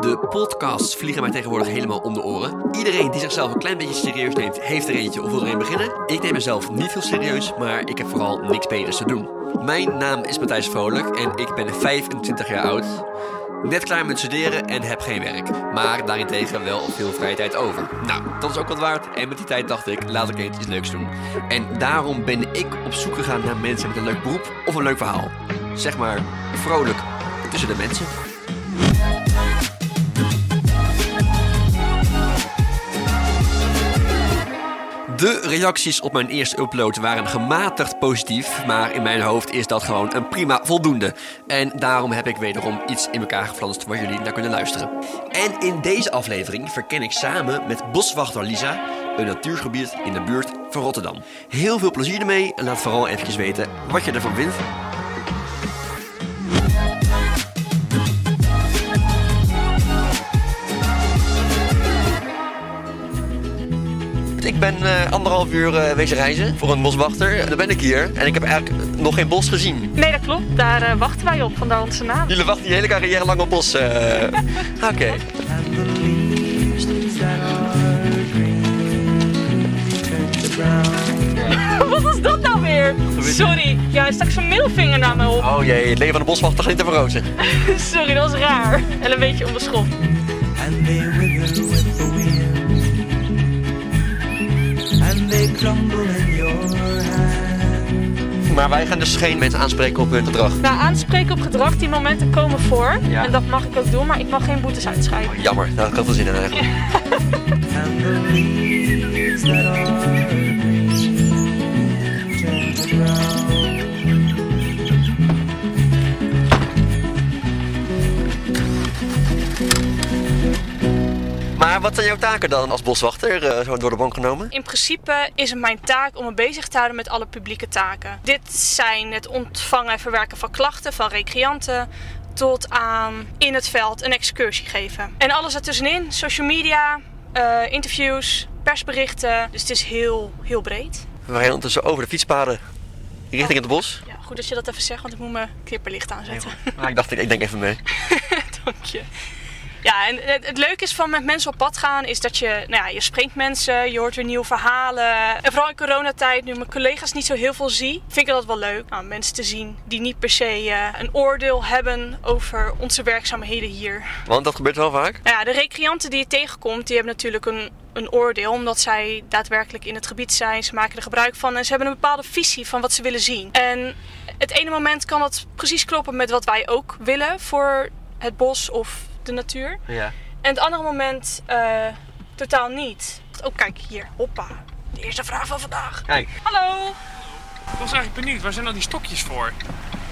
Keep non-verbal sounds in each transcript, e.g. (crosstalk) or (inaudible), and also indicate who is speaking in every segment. Speaker 1: De podcasts vliegen mij tegenwoordig helemaal om de oren. Iedereen die zichzelf een klein beetje serieus neemt, heeft er eentje of wil er een beginnen. Ik neem mezelf niet heel serieus, maar ik heb vooral niks beters te doen. Mijn naam is Matthijs Vrolijk en ik ben 25 jaar oud. Net klaar met studeren en heb geen werk. Maar daarentegen wel veel vrije tijd over. Nou, dat is ook wat waard. En met die tijd dacht ik, laat ik eens iets leuks doen. En daarom ben ik op zoek gegaan naar mensen met een leuk beroep of een leuk verhaal. Zeg maar, vrolijk tussen de mensen. De reacties op mijn eerste upload waren gematigd positief, maar in mijn hoofd is dat gewoon een prima voldoende. En daarom heb ik wederom iets in elkaar geflanst waar jullie naar kunnen luisteren. En in deze aflevering verken ik samen met boswachter Lisa een natuurgebied in de buurt van Rotterdam. Heel veel plezier ermee en laat vooral eventjes weten wat je ervan vindt. Ik ben eh, anderhalf uur eh, wezen reizen voor een boswachter. En dan ben ik hier en ik heb eigenlijk nog geen bos gezien.
Speaker 2: Nee, dat klopt. Daar eh, wachten wij op, vandaar onze naam. (laughs)
Speaker 1: Jullie wachten je hele carrière lang op bos. eh. (laughs) Oké.
Speaker 3: And the leaves that are green turn to brown.
Speaker 2: Wat is dat nou weer? Sorry. Ja, hij stak zijn middelvinger naar me op. (laughs)
Speaker 1: Oh jee, het leven van de boswachter gaat niet te verrozen.
Speaker 2: Sorry, dat was raar. En een beetje
Speaker 3: And
Speaker 2: onbeschoft.
Speaker 3: they wither with the wind. And they crumble in your hand.
Speaker 1: Maar wij gaan dus geen mensen aanspreken op hun gedrag.
Speaker 2: Nou, aanspreken op gedrag, die momenten komen voor.
Speaker 1: Ja.
Speaker 2: En dat mag ik ook doen, maar ik mag geen boetes uitschrijven.
Speaker 1: Jammer, daar had ik had wel zin in eigenlijk.
Speaker 3: And the leaves that are green turn to brown.
Speaker 1: Maar wat zijn jouw taken dan als boswachter, eh, zo door de bank genomen?
Speaker 2: In principe is het mijn taak om me bezig te houden met alle publieke taken. Dit zijn het ontvangen en verwerken van klachten van recreanten tot aan in het veld een excursie geven. En alles ertussenin, social media, eh, interviews, persberichten. Dus het is heel, heel breed.
Speaker 1: We rijden ondertussen over de fietspaden richting het bos.
Speaker 2: Ja, goed dat je dat even zegt, want ik moet mijn knipperlicht aanzetten.
Speaker 1: Maar ik dacht, ik, ik denk even mee.
Speaker 2: Dank je. Ja, en het, het leuke is van met mensen op pad gaan is dat je, nou ja, je spreekt mensen, je hoort weer nieuwe verhalen. En vooral in coronatijd, nu mijn collega's niet zo heel veel zie, vind ik dat wel leuk. Nou, mensen te zien die niet per se eh, een oordeel hebben over onze werkzaamheden hier.
Speaker 1: Want dat gebeurt wel vaak.
Speaker 2: Nou ja, de recreanten die je tegenkomt, die hebben natuurlijk een, een oordeel omdat zij daadwerkelijk in het gebied zijn. Ze maken er gebruik van en ze hebben een bepaalde visie van wat ze willen zien. En het ene moment kan dat precies kloppen met wat wij ook willen voor het bos of de natuur.
Speaker 1: Ja.
Speaker 2: En het andere moment eh, totaal niet. Oh, kijk hier, hoppa. De eerste vraag van vandaag.
Speaker 1: Kijk.
Speaker 2: Hallo.
Speaker 4: Ik was eigenlijk benieuwd, waar zijn al die stokjes voor?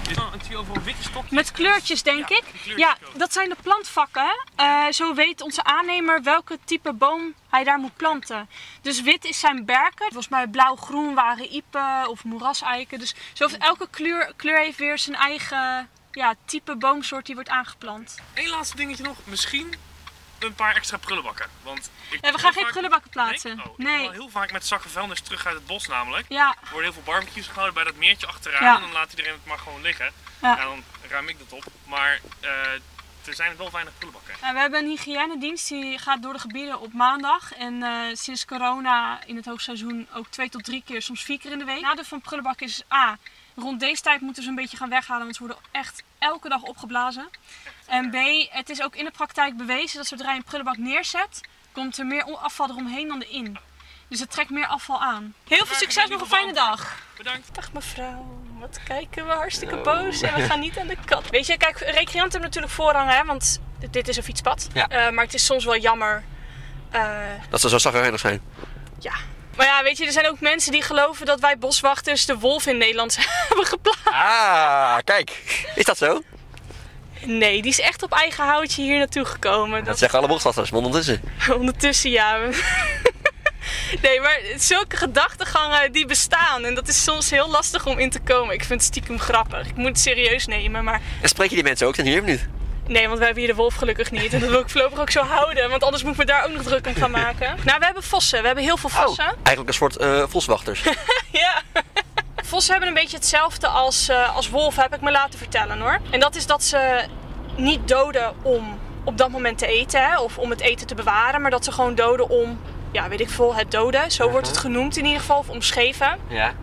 Speaker 4: Dit is het hier overal witte stokjes.
Speaker 2: Met kleurtjes, denk
Speaker 4: Ja,
Speaker 2: ik.
Speaker 4: die kleurtjes
Speaker 2: Ja,
Speaker 4: ook.
Speaker 2: dat zijn de plantvakken. Eh, zo weet onze aannemer welke type boom hij daar moet planten. Dus wit is zijn berken. Volgens mij blauw-groen waren iepen of moeraseiken. Dus zo heeft elke kleur, kleur heeft weer zijn eigen ja, type boomsoort die wordt aangeplant.
Speaker 4: Eén laatste dingetje nog, misschien een paar extra prullenbakken. Want ik
Speaker 2: Ja, we gaan geen prullenbakken plaatsen.
Speaker 4: Nee? Oh, ik
Speaker 2: Nee.
Speaker 4: kom wel heel vaak met zakken vuilnis terug uit het bos namelijk.
Speaker 2: Ja,
Speaker 4: Er worden heel veel barbecues gehouden bij dat meertje achteraan
Speaker 2: Ja.
Speaker 4: en dan laat iedereen het maar gewoon liggen.
Speaker 2: Ja.
Speaker 4: Nou, dan ruim ik dat op. Maar eh, er zijn wel weinig prullenbakken.
Speaker 2: Ja, Nou, we hebben een hygiënedienst die gaat door de gebieden op maandag. En eh, sinds corona in het hoogseizoen ook twee tot drie keer, soms vier keer in de week. Nadeel van prullenbak is A. Rond deze tijd moeten ze een beetje gaan weghalen, want ze worden echt elke dag opgeblazen. En B. Het is ook in de praktijk bewezen dat zodra je een prullenbak neerzet, komt er meer afval eromheen dan erin. Dus het trekt meer afval aan. Heel veel succes, nog een fijne dag!
Speaker 4: Bedankt.
Speaker 2: Dag mevrouw, wat kijken we hartstikke
Speaker 1: Oh.
Speaker 2: boos en we gaan niet aan de kat. Weet je, kijk, recreanten hebben natuurlijk voorrang, hè, want dit is een fietspad.
Speaker 1: Ja.
Speaker 2: Eh, maar het is soms wel jammer. eh,
Speaker 1: Dat ze zo zagrijnig zijn.
Speaker 2: ja. Maar ja, weet je, er zijn ook mensen die geloven dat wij boswachters de wolf in Nederland (laughs) hebben geplaatst.
Speaker 1: Ah, kijk. Is dat zo?
Speaker 2: Nee, die is echt op eigen houtje hier naartoe gekomen.
Speaker 1: Dat zeggen alle boswachters, want ondertussen.
Speaker 2: (laughs) Ondertussen ja. Nee, maar zulke gedachtegangen die bestaan. En dat is soms heel lastig om in te komen. Ik vind het stiekem grappig. Ik moet het serieus nemen, maar
Speaker 1: En spreek je die mensen ook? Zijn jullie of niet?
Speaker 2: Nee, want we hebben hier de wolf gelukkig niet. En dat wil ik voorlopig ook zo houden. Want anders moet ik me daar ook nog druk om gaan maken. (laughs) Nou, we hebben vossen. We hebben heel veel
Speaker 1: Oh,
Speaker 2: vossen.
Speaker 1: eigenlijk een soort eh, voswachters.
Speaker 2: (laughs) Ja. Vossen hebben een beetje hetzelfde als, eh als wolven, heb ik me laten vertellen hoor. En dat is dat ze niet doden om op dat moment te eten hè, of om het eten te bewaren. Maar dat ze gewoon doden om, ja, weet ik veel, het doden. Zo wordt het genoemd in ieder geval, of omschreven.
Speaker 1: Ja.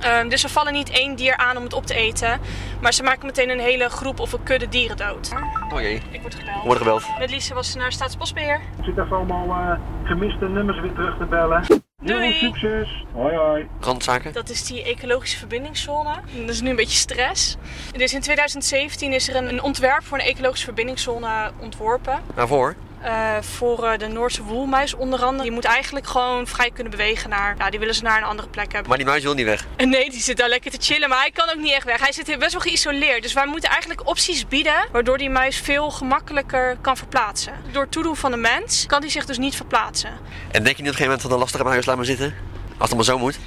Speaker 2: Ehm, dus ze vallen niet één dier aan om het op te eten. Maar ze maken meteen een hele groep of een kudde dieren dood.
Speaker 1: Oh jee.
Speaker 2: Ik word gebeld.
Speaker 1: Wordt gebeld.
Speaker 2: Met Lise was ze naar Staatsbosbeheer.
Speaker 5: Ik zit even allemaal eh, gemiste nummers weer terug te bellen. Heel veel
Speaker 2: Doei!
Speaker 5: succes. Hoi hoi.
Speaker 1: Randzaken.
Speaker 2: Dat is die ecologische verbindingszone. Dat is nu een beetje stress. Dus in 2017 is er een, een ontwerp voor een ecologische verbindingszone ontworpen.
Speaker 1: Waarvoor?
Speaker 2: Eh, voor eh, de Noordse woelmuis onder andere. Die moet eigenlijk gewoon vrij kunnen bewegen naar... Ja, die willen ze naar een andere plek hebben.
Speaker 1: Maar die muis wil niet weg.
Speaker 2: En (laughs) Nee, die zit daar lekker te chillen, maar hij kan ook niet echt weg. Hij zit hier best wel geïsoleerd. Dus wij moeten eigenlijk opties bieden waardoor die muis veel gemakkelijker kan verplaatsen. Door het toedoen van de mens kan hij zich dus niet verplaatsen.
Speaker 1: En denk je niet op een gegeven moment van een lastige muis, laat maar zitten? Als het maar zo moet.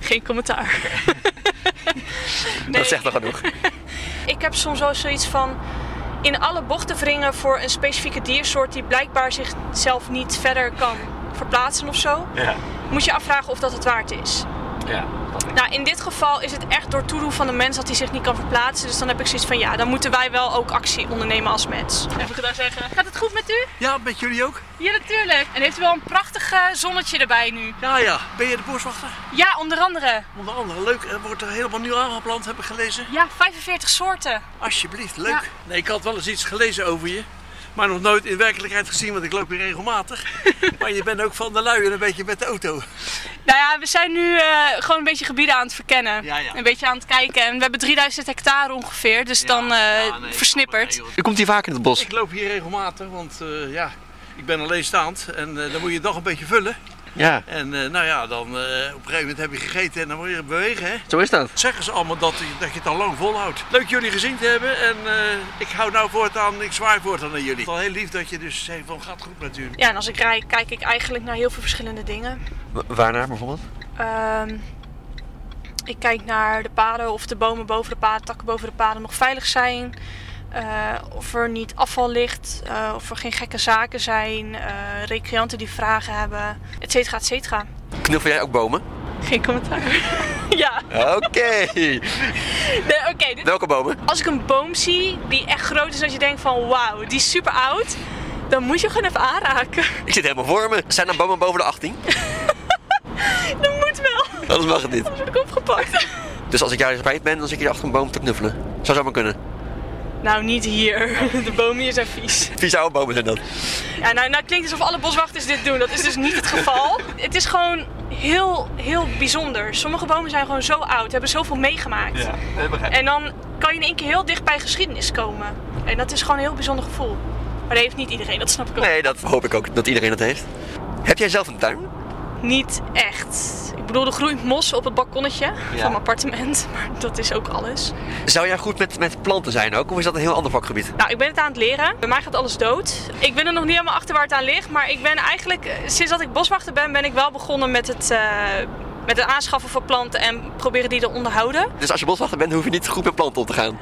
Speaker 2: Geen (laughs) commentaar. Nee.
Speaker 1: Dat zegt al genoeg.
Speaker 2: Ik heb soms wel zoiets van in alle bochten wringen voor een specifieke diersoort die blijkbaar zichzelf niet verder kan verplaatsen of zo.
Speaker 1: Ja.
Speaker 2: Moet je afvragen of dat het waard is.
Speaker 1: Ja.
Speaker 2: Nou, in dit geval is het echt door toedoen van de mens dat hij zich niet kan verplaatsen. Dus dan heb ik zoiets van, ja, dan moeten wij wel ook actie ondernemen als mens. Even ik het daar zeggen. Gaat het goed met u?
Speaker 1: Ja, met jullie ook?
Speaker 2: Ja, natuurlijk. En heeft u wel een prachtig eh, zonnetje erbij nu?
Speaker 6: Ja, ja. Ben je de boswachter?
Speaker 2: Ja, onder andere.
Speaker 6: Onder andere, leuk. Er wordt er helemaal nieuw aangeplant, heb ik gelezen.
Speaker 2: Ja, 45 soorten.
Speaker 6: Alsjeblieft, leuk.
Speaker 2: Ja.
Speaker 6: Nee, ik had wel eens iets gelezen over je. Maar nog nooit in werkelijkheid gezien, want ik loop hier
Speaker 2: (laughs)
Speaker 6: regelmatig. maar je bent ook van de lui en een beetje met de auto.
Speaker 2: Nou ja, we zijn nu eh, gewoon een beetje gebieden aan het verkennen.
Speaker 6: Ja, ja.
Speaker 2: Een beetje aan het kijken. En we hebben 3000 hectare ongeveer, dus dan eh,
Speaker 6: Ja, nee,
Speaker 2: versnipperd.
Speaker 6: nee,
Speaker 1: (laughs)
Speaker 6: joh.
Speaker 1: U komt hier vaak in het bos.
Speaker 6: ik loop hier regelmatig, want eh, ja, ik ben alleenstaand. En eh, dan moet je toch een beetje vullen.
Speaker 1: Ja.
Speaker 6: En eh, nou ja, dan eh, op een gegeven moment heb je gegeten en dan moet je bewegen, hè.
Speaker 1: Zo is dat.
Speaker 6: zeggen ze allemaal dat, je- dat je het al lang volhoudt. Leuk jullie gezien te hebben en eh, ik hou nou voortaan, ik zwaai voortaan naar jullie. Het is al heel lief dat je dus zegt van gaat goed met u.
Speaker 2: Ja, en als ik rijd, kijk ik eigenlijk naar heel veel verschillende dingen.
Speaker 1: waarnaar bijvoorbeeld?
Speaker 2: Ehm, ik kijk naar de paden of de bomen boven de paden, takken boven de paden nog veilig zijn. Eh, of er niet afval ligt, eh, of er geen gekke zaken zijn, eh, recreanten die vragen hebben, et cetera, et cetera.
Speaker 1: Knuffel jij ook bomen?
Speaker 2: Geen commentaar. (laughs) ja,
Speaker 1: Oké.
Speaker 2: nee, oké. dit-
Speaker 1: (laughs) Welke bomen?
Speaker 2: Als ik een boom zie die echt groot is, dat je denkt van wauw, die is super oud, dan moet je gewoon even aanraken. (laughs)
Speaker 1: Ik zit helemaal voor me. Zijn er bomen boven de 18?
Speaker 2: dat moet
Speaker 1: (laughs)
Speaker 2: wel, (laughs)
Speaker 1: Anders mag het niet.
Speaker 2: word ik opgepakt. (laughs)
Speaker 1: Dus als ik jou spijt ben, dan zit je achter een boom te knuffelen. Zou zomaar kunnen.
Speaker 2: nou, niet hier. (laughs) De bomen hier zijn vies.
Speaker 1: Vieze oude bomen zijn dat.
Speaker 2: Ja, nou, nou klinkt alsof alle boswachters dit doen. Dat is dus niet het geval. Het is gewoon heel, heel bijzonder. Sommige bomen zijn gewoon zo oud, hebben zoveel meegemaakt. En dan kan je in één keer heel dicht bij geschiedenis komen. En dat is gewoon een heel bijzonder gevoel. Maar dat heeft niet iedereen, dat snap ik ook.
Speaker 1: Nee, dat hoop ik ook dat iedereen dat heeft. Heb jij zelf een tuin?
Speaker 2: Niet echt. Ik bedoel, er groeit mos op het balkonnetje van mijn appartement. (laughs) Maar dat is ook alles.
Speaker 1: Zou jij goed met, met planten zijn ook? Of is dat een heel ander vakgebied?
Speaker 2: Nou, ik ben het aan het leren. Bij mij gaat alles dood. Ik ben er nog niet helemaal achter waar het aan ligt. Maar ik ben eigenlijk, eh, sinds dat ik boswachter ben, ben ik wel begonnen met het, eh, met het aanschaffen van planten en proberen die te onderhouden.
Speaker 1: Dus als je boswachter bent, hoef je niet goed met planten om te gaan.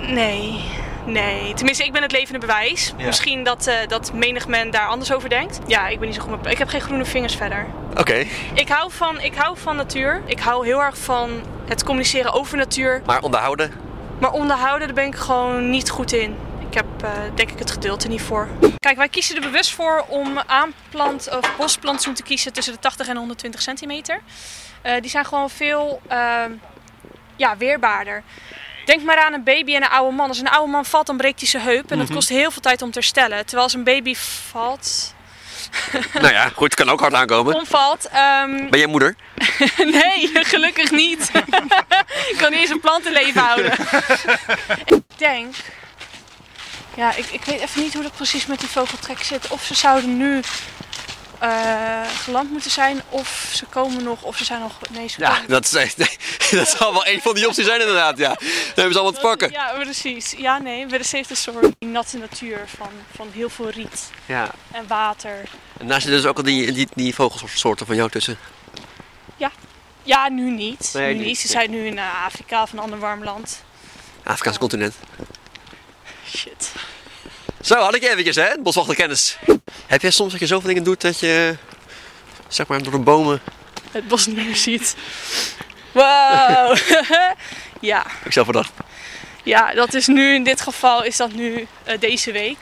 Speaker 2: Nee, nee. Tenminste, ik ben het levende bewijs. Misschien dat, eh, dat menig men daar anders over denkt. Ja, ik ben niet zo goed met... Ik heb geen groene vingers verder.
Speaker 1: Oké.
Speaker 2: Ik hou van, ik hou van natuur. Ik hou heel erg van het communiceren over natuur.
Speaker 1: Maar onderhouden?
Speaker 2: Maar onderhouden, daar ben ik gewoon niet goed in. Ik heb eh, denk ik het geduld er niet voor. Kijk, wij kiezen er bewust voor om aanplant of bosplantsoen te kiezen tussen de 80 en 120 centimeter. Eh, die zijn gewoon veel eh, ja, weerbaarder. Denk maar aan een baby en een oude man. Als een oude man valt, dan breekt hij zijn heup. En dat kost heel veel tijd om te herstellen. Terwijl als een baby valt,
Speaker 1: nou ja, goed, kan ook hard aankomen.
Speaker 2: omvalt, ehm,
Speaker 1: Ben jij moeder?
Speaker 2: (laughs) Nee, gelukkig niet. (laughs) ik kan niet eens een plantenleven houden. (laughs) ik denk. Ja, ik, ik weet even niet hoe dat precies met die vogeltrek zit. Of ze zouden nu eh, geland moeten zijn, of ze komen nog, of ze zijn nog. Nee, ze
Speaker 1: Ja,
Speaker 2: komen-
Speaker 1: dat, is, (laughs) dat zal wel een van die opties zijn inderdaad, ja. Dan hebben ze al wat te pakken.
Speaker 2: Ja, precies. Ja, nee, we heeft een soort natte natuur van, van heel veel riet
Speaker 1: Ja.
Speaker 2: en water.
Speaker 1: En daar zitten dus ook al die, die, die vogelsoorten van jou tussen.
Speaker 2: Ja, nu niet.
Speaker 1: Nee,
Speaker 2: nu
Speaker 1: niet.
Speaker 2: niet. Ze zijn nu in eh, Afrika of een ander warm land.
Speaker 1: Afrikaanse continent.
Speaker 2: Shit.
Speaker 1: Zo, had ik je eventjes, hè? Boswachterkennis. Heb jij soms dat je zoveel dingen doet dat je, zeg maar, door de bomen...
Speaker 2: het bos niet meer ziet. Wow! (laughs) ja,
Speaker 1: Ik zelf voor dat.
Speaker 2: Ja, dat is nu in dit geval is dat nu eh, deze week.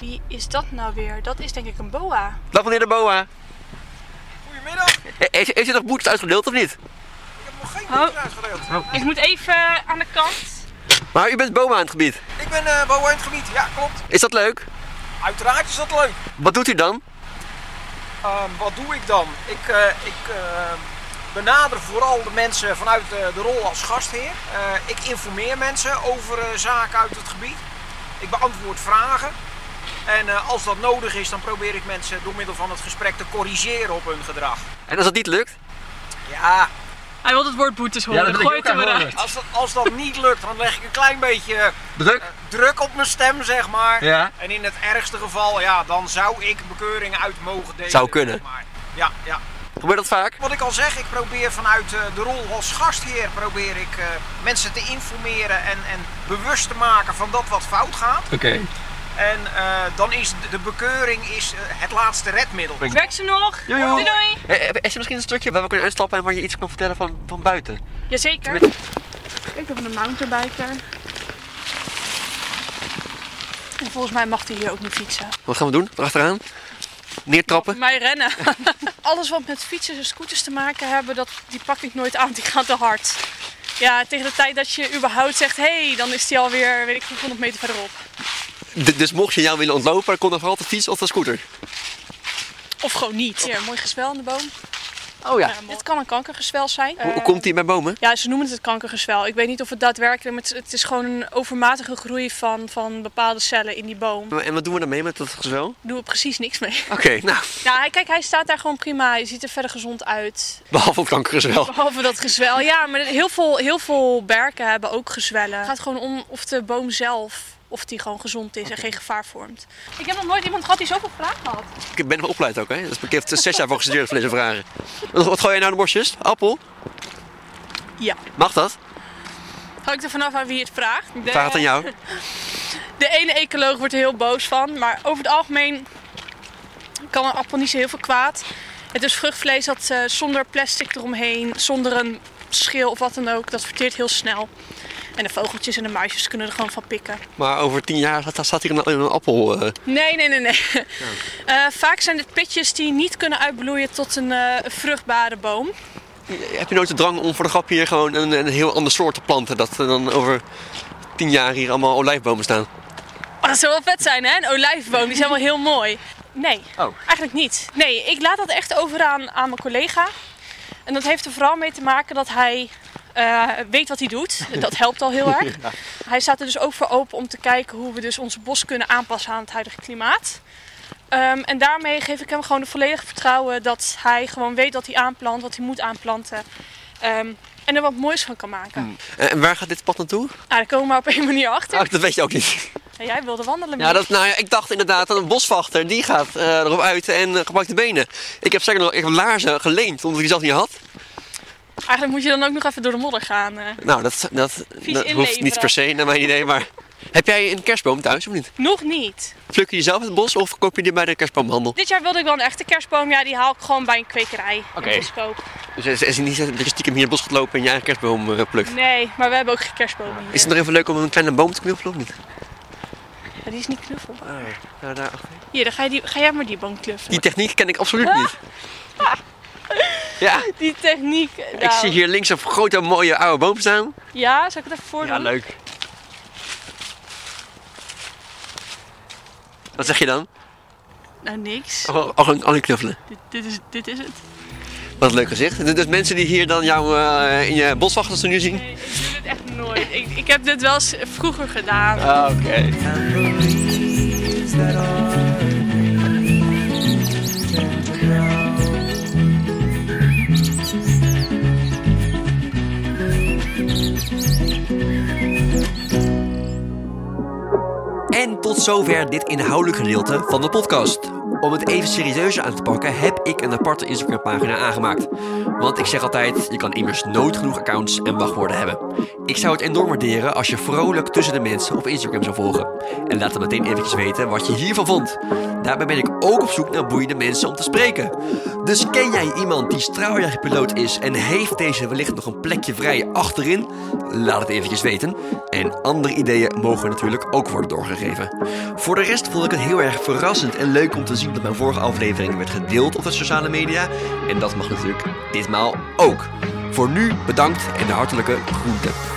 Speaker 2: Wie is dat nou weer? Dat is denk ik een boa.
Speaker 1: Dag meneer de Boa.
Speaker 4: Goedemiddag, ik
Speaker 1: He- Heeft, heeft u nog boetes uitgedeeld of niet?
Speaker 4: heb nog geen
Speaker 2: Oh.
Speaker 4: boete uitgedeeld.
Speaker 2: Ik moet even eh, aan de kant.
Speaker 1: Maar u bent Boa aan het gebied.
Speaker 4: Ik ben eh Boa in het gebied, ja klopt.
Speaker 1: Is dat leuk?
Speaker 4: Uiteraard is dat leuk.
Speaker 1: Wat doet u dan?
Speaker 4: Ehm, wat doe ik dan? Ik, eh, ik eh, benader vooral de mensen vanuit eh, de rol als gastheer. Eh, ik informeer mensen over eh, zaken uit het gebied. Ik beantwoord vragen. En eh, als dat nodig is, dan probeer ik mensen door middel van het gesprek te corrigeren op hun gedrag.
Speaker 1: En als dat niet lukt?
Speaker 4: Ja,
Speaker 2: Hij wil het woord boetes horen. Gooi het er maar uit.
Speaker 4: als dat, als dat niet lukt, dan leg ik een klein beetje eh,
Speaker 1: Druk?
Speaker 4: druk op mijn stem, zeg maar.
Speaker 1: Ja.
Speaker 4: En in het ergste geval, ja, dan zou ik bekeuring uit mogen delen.
Speaker 1: Zou kunnen.
Speaker 4: Maar, ja, ja.
Speaker 1: Gebeurt dat vaak?
Speaker 4: Wat ik al zeg, ik probeer vanuit eh, de rol als gastheer probeer ik, eh, mensen te informeren en, en bewust te maken van dat wat fout gaat.
Speaker 1: Oké.
Speaker 4: En eh, dan is de, de bekeuring is, eh, het laatste redmiddel.
Speaker 2: Ik werk ze nog.
Speaker 1: Joe, joe.
Speaker 2: Doei doei.
Speaker 1: Is er misschien een stukje waar we kunnen uitstappen en waar je iets kan vertellen van, van buiten?
Speaker 2: Jazeker. Kijk, we hebben een mountainbiker. En volgens mij mag hij hier ook niet fietsen.
Speaker 1: Wat gaan we doen? Erachteraan? Neertrappen?
Speaker 2: Mij rennen. (laughs) Alles wat met fietsen en scooters te maken hebben, dat, die pak ik nooit aan. Die gaat te hard. Ja, tegen de tijd dat je überhaupt zegt, hé, hey, dan is die alweer, weet ik veel, 100 meter verderop.
Speaker 1: D- dus mocht je jou willen ontlopen, dan kon er vooral de fiets of de scooter.
Speaker 2: Of gewoon niet. Hier, mooi gezwel aan de boom.
Speaker 1: Oh ja.
Speaker 2: Ja, dit kan een kankergezwel zijn.
Speaker 1: Hoe,
Speaker 2: Eh,
Speaker 1: hoe komt die bij bomen?
Speaker 2: Ja, ze noemen het het kankergezwel. Ik weet niet of het daadwerkelijk... maar het- Het is gewoon een overmatige groei van, van bepaalde cellen in die boom.
Speaker 1: En wat doen we daarmee met dat gezwel?
Speaker 2: Daar doen we precies niks mee.
Speaker 1: Oké, nou,
Speaker 2: (laughs) Ja, hij- kijk, hij staat daar gewoon prima. Hij ziet er verder gezond uit.
Speaker 1: behalve het kankergezwel.
Speaker 2: Behalve dat gezwel. Ja, maar heel veel, heel veel berken hebben ook gezwellen. Het gaat gewoon om of de boom zelf... of die gewoon gezond is en geen gevaar vormt. Ik heb nog nooit iemand gehad die zoveel vragen had.
Speaker 1: Ik ben wel opgeleid ook, hè? Dat is ik heb zes jaar voor gestudeerd voor deze vragen. Wat, wat gooi jij nou de bosjes? Appel?
Speaker 2: Ja.
Speaker 1: Mag dat?
Speaker 2: Hangt er vanaf aan wie het vraagt. De,
Speaker 1: Ik vraag het aan jou.
Speaker 2: de ene ecoloog wordt er heel boos van. Maar over het algemeen kan een appel niet zo heel veel kwaad. Het is vruchtvlees dat eh, zonder plastic eromheen, zonder een schil of wat dan ook, dat verteert heel snel. En de vogeltjes en de muisjes kunnen er gewoon van pikken.
Speaker 1: Maar over tien jaar staat, staat hier een, een appel. eh.
Speaker 2: Nee, nee, nee, nee. Eh, vaak zijn het pitjes die niet kunnen uitbloeien tot een eh, vruchtbare boom.
Speaker 1: Heb je nooit de drang om voor de grap hier gewoon een, een heel ander soort te planten? Dat er dan over tien jaar hier allemaal olijfbomen staan.
Speaker 2: Oh, dat zou wel vet zijn, hè? Een olijfboom, die zijn wel heel mooi. Nee,
Speaker 1: Oh.
Speaker 2: eigenlijk niet. Nee, ik laat dat echt over aan, aan mijn collega. En dat heeft er vooral mee te maken dat hij eh, weet wat hij doet.
Speaker 1: (laughs)
Speaker 2: Dat helpt al heel erg. Hij staat er dus ook voor open om te kijken hoe we dus onze bos kunnen aanpassen aan het huidige klimaat. Ehm, en daarmee geef ik hem gewoon het volledige vertrouwen dat hij gewoon weet wat hij aanplant, wat hij moet aanplanten. Ehm, en er wat moois van kan maken.
Speaker 1: En, en waar gaat dit pad naartoe?
Speaker 2: Nou, daar komen we maar op één manier achter.
Speaker 1: Oh, dat weet je ook niet.
Speaker 2: En jij wilde wandelen.
Speaker 1: Ja, dat, nou ja, ik dacht inderdaad dat een boswachter die gaat eh, erop uit en eh, gebruikt de benen. Ik heb zeker nog ik heb laarzen geleend omdat ik die zelf niet had.
Speaker 2: Eigenlijk moet je dan ook nog even door de modder gaan. eh.
Speaker 1: Nou, dat, dat, dat hoeft
Speaker 2: inleveren.
Speaker 1: niet per se naar mijn idee, maar... Heb jij een kerstboom thuis of niet?
Speaker 2: Nog niet.
Speaker 1: Pluk je die zelf uit het bos of koop je die bij de kerstboomhandel?
Speaker 2: Dit jaar wilde ik wel een echte kerstboom. Ja, die haal ik gewoon bij een kwekerij.
Speaker 1: Oké.
Speaker 2: Oké. goedkoop.
Speaker 1: Dus is, is het niet zo dat je stiekem hier in het bos gaat lopen en je eigen kerstboom eh, plukt?
Speaker 2: Nee, maar we hebben ook geen kerstboom hier.
Speaker 1: Is het nog even leuk om een kleine boom te knuffelen of niet?
Speaker 2: Maar die is niet knuffel.
Speaker 1: Nou, daar,
Speaker 2: Hier, dan ga, je die, ga jij maar die boom knuffelen.
Speaker 1: die techniek ken ik absoluut niet. Ja,
Speaker 2: Die techniek. eh, nou.
Speaker 1: ik zie hier links een grote mooie oude boom staan.
Speaker 2: Ja, zal ik het even voordoen?
Speaker 1: Ja, leuk. Wat zeg je dan?
Speaker 2: Nou, niks.
Speaker 1: Oh, oh, oh, knuffelen.
Speaker 2: Dit, dit, is, dit is het.
Speaker 1: Wat een leuk gezicht. Dus mensen die hier dan jou eh, in je boswachters nu zien.
Speaker 2: Nee, ik doe dit echt nooit. Ik, ik heb dit wel eens vroeger gedaan.
Speaker 1: Ah, Oké.
Speaker 3: that are
Speaker 1: En tot zover dit inhoudelijk gedeelte van de podcast. Om het even serieuzer aan te pakken, heb ik een aparte Instagram-pagina aangemaakt. Want ik zeg altijd: je kan immers nooit genoeg accounts en wachtwoorden hebben. Ik zou het enorm waarderen als je vrolijk tussen de mensen op Instagram zou volgen. En laat dan meteen eventjes weten wat je hiervan vond. Daarbij ben ik ook op zoek naar boeiende mensen om te spreken. Dus ken jij iemand die straaljagerpiloot is en heeft deze wellicht nog een plekje vrij achterin? Laat het eventjes weten. En andere ideeën mogen natuurlijk ook worden doorgegeven. Voor de rest vond ik het heel erg verrassend en leuk om te zien dat mijn vorige aflevering werd gedeeld op de sociale media. En dat mag natuurlijk ditmaal ook. Voor nu bedankt en de hartelijke groeten.